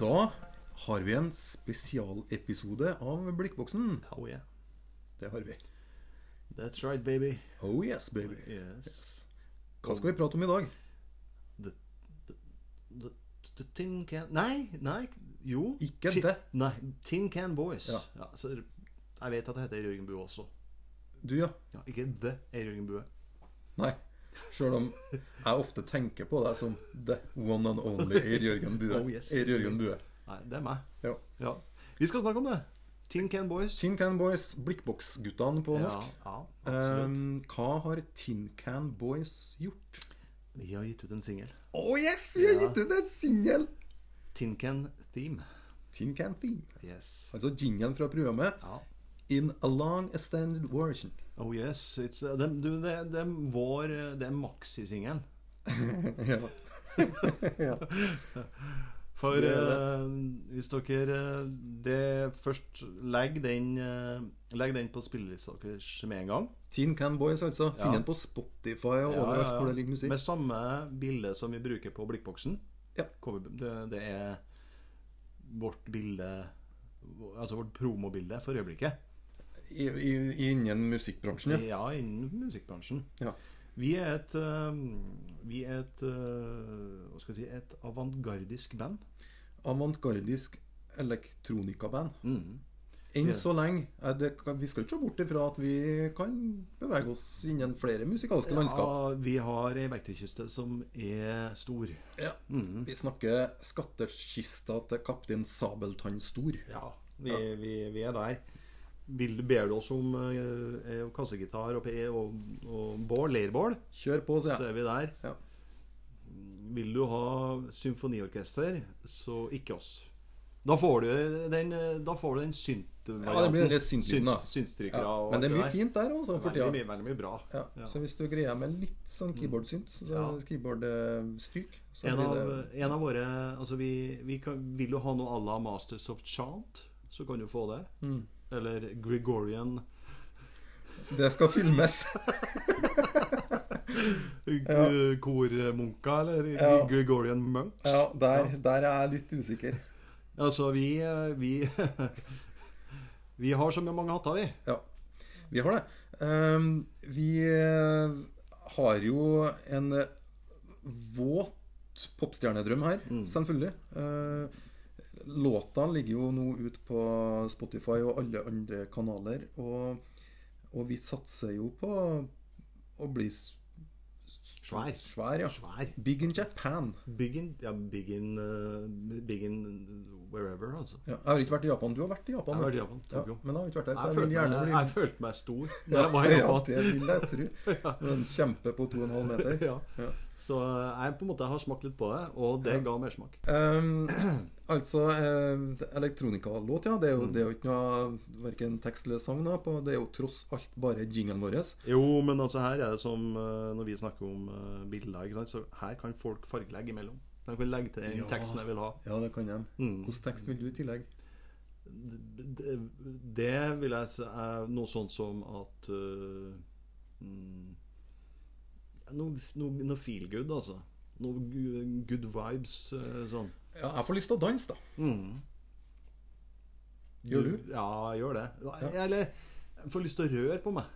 Da har vi en spesialepisode av Blikkboksen. Oh yeah. Det har vi. That's right, baby. Oh yes, baby. Yes. Hva skal vi prate om i dag? The, the, the, the Tin Can Nei, nei, jo. Ikke Ti- det. Nei, Tin Can Boys. Ja. Ja. så jeg vet at det heter Jørgenbue også. Du, ja. Ja, ikke The Jørgenbue. Nei. Sjøl om jeg ofte tenker på deg som the one and only Eir Jørgen Bue. Oh, yes. Eir Jørgen Bue. Nei, det er meg. Ja. Ja. Vi skal snakke om det. Tin Can Boys. Tin Can Boys, Blikkboksguttene på Ja, norsk. ja, absolutt. Ehm, hva har Tin Can Boys gjort? Vi har gitt ut en singel. Å oh, yes, vi har gitt ut en singel! Tin Can Theme. Tin Can Theme. Yes. Altså jingen fra programmet Ja. In a long extended version. Oh yes. It's, uh, det, du, det, det er vår uh, Det er maxisingelen. ja. For Det er eh, hvis dere eh, det først legg den, eh, legg den på spillelista deres med en gang. Tin Can Boys, altså. Finn Ja. den på Spotify og overalt hvor det ligger musikk. Med samme bilde som vi bruker på blikkboksen. Ja. Cover- Det, det er vårt bilde Altså vårt promobilde for øyeblikket. I, i, innen musikkbransjen, ja. Ja, innen musikkbransjen. ja. Vi er et eh, Vi er et eh, Hva skal jeg si Et avantgardisk band. Avantgardisk elektronikaband. Mm. Enn Ja. så lenge. eh, Det, kan- vi skal ikke se bort ifra at vi kan bevege oss innen flere musikalske landskap. Ja, vi har ei verktøykiste som er stor. Ja. Mm. Vi snakker skattkista til kaptein Sabeltann Stor. Ja, vi, Vi, vi er der. Vil, ber du oss om eh, eh, kassegitar og, P- og, og bål, leirbål, Kjør på, så sier jeg. er vi der. Ja. Vil du ha symfoniorkester, så ikke oss. Da får du den, eh, da får du den synt-varianten. Ja, det blir den litt synt-lyden, da. Syns- syntstrykere Ja. og Men det er alt mye fint der, altså, for Veldig, tida. mye- veldig mye bra. Ja. Ja. Så hvis du greier med litt sånn keyboard-synt, så Ja. keyboard-stryk, så En blir av, det en av våre Altså, vi, vi kan, vil jo ha noe à la Masters of Chant, så kan du få det. Mm. Eller Gregorian eh, Det skal filmes! ja. kormunker, eller Ja. Gregorian monks. Ja, der, der er jeg litt usikker. Altså, vi Vi, vi har så mange hatter, vi. Ja, vi har det. Ehm, vi eh, har jo en eh, våt popstjernedrøm her, Mm. selvfølgelig. Eh, låta ligger jo nå ut på Spotify og alle andre kanaler, og, og vi satser jo på å bli s- Svær. svær, ja. Svær. Big in Japan. Big in, ja, big in, eh, big in wherever, altså. Ja, jeg har ikke vært i Japan. Du har vært i Japan. Jeg har vet vært i du. Japan, Ja, Tokyo. men jeg har ikke vært der, så Jeg jeg, vil følte, gjerne meg, bli jeg følte meg stor når jeg var i Ja, Japan. det vil jeg tro. En kjempe på 2,5 meter. Ja. Så eh, jeg på en måte har smakt litt på det, og det ga mersmak. Um, altså, eh, det- elektronikalåt, ja. Det er jo, det er jo ikke noe verken tekst eller sang da, på. Det er jo tross alt bare jingelen vår. Jo, men altså her er det som eh, når vi snakker om eh, bilder, ikke sant? så her kan folk fargelegge imellom. De kan legge til den Ja. teksten de vil ha. Ja, det kan jeg. Hvilken tekst vil du i tillegg? Det, det vil jeg si er noe sånt som at eh, mm, Noe, noe, noe feel good, altså. Noe gu- good vibes eh, sånn. Ja, jeg får lyst til å danse, da. Mm. Gjør du? Ja, jeg gjør det. Eller jeg får lyst til å røre på meg.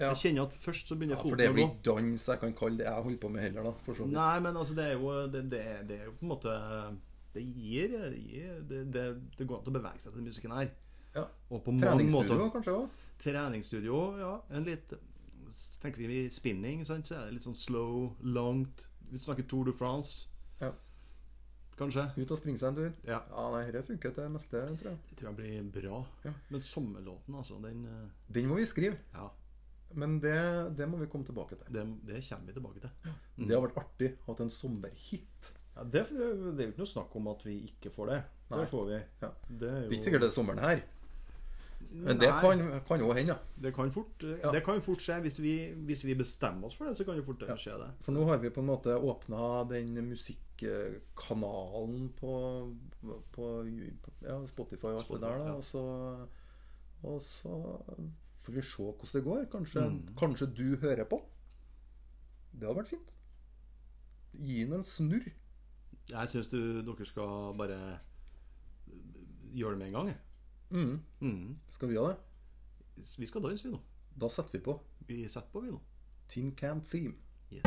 Ja. Jeg kjenner at først så begynner For foten det å blir gå. ikke dans jeg kan kalle det jeg holder på med heller, da. For så vidt. Nei, men altså, det er jo, det, det, det er jo på en måte Det gir, det, gir det, det, det går an å bevege seg til den musikken her. Ja. Og på mange Treningsstudio måter kanskje òg? Treningsstudio, ja. En litt så Tenker vi spinning, sant, så er det litt sånn slow, langt Vi snakker Tour de France, Ja. kanskje. Ut og springe seg en tur? Ja. Ja, nei, dette funker til det meste, tror jeg. Det tror jeg blir bra. Ja. Men sommerlåten, altså, den eh, Den må vi skrive. Ja. Men det, det må vi komme tilbake til. Det, det kommer vi tilbake til. Det har vært artig å ha en sommerhit. Ja, det, det er jo ikke noe snakk om at vi ikke får det. Nei. Det får vi. Ja. Det er Det er jo ikke sikkert det er sommeren her, men det Nei. kan, kan jo hende. ja. Det kan fort, eh, det kan fort skje. Hvis vi, hvis vi bestemmer oss for det, så kan det fort skje det. For nå har vi på en måte åpna den musikkanalen på, på ja, Spotify og alt det Spotify, der. Da. ja. Og, så, og så får vi se hvordan det går. Kanskje, Mm. kanskje du hører på? Det hadde vært fint. Gi den en snurr. Jeg syns dere skal bare eh, gjøre det med en gang. jeg. Mm. Mm. Skal vi ha det? Vi skal danse, vi nå. Da setter vi på Vi setter på, vi nå. Tin Can Theme. Yes.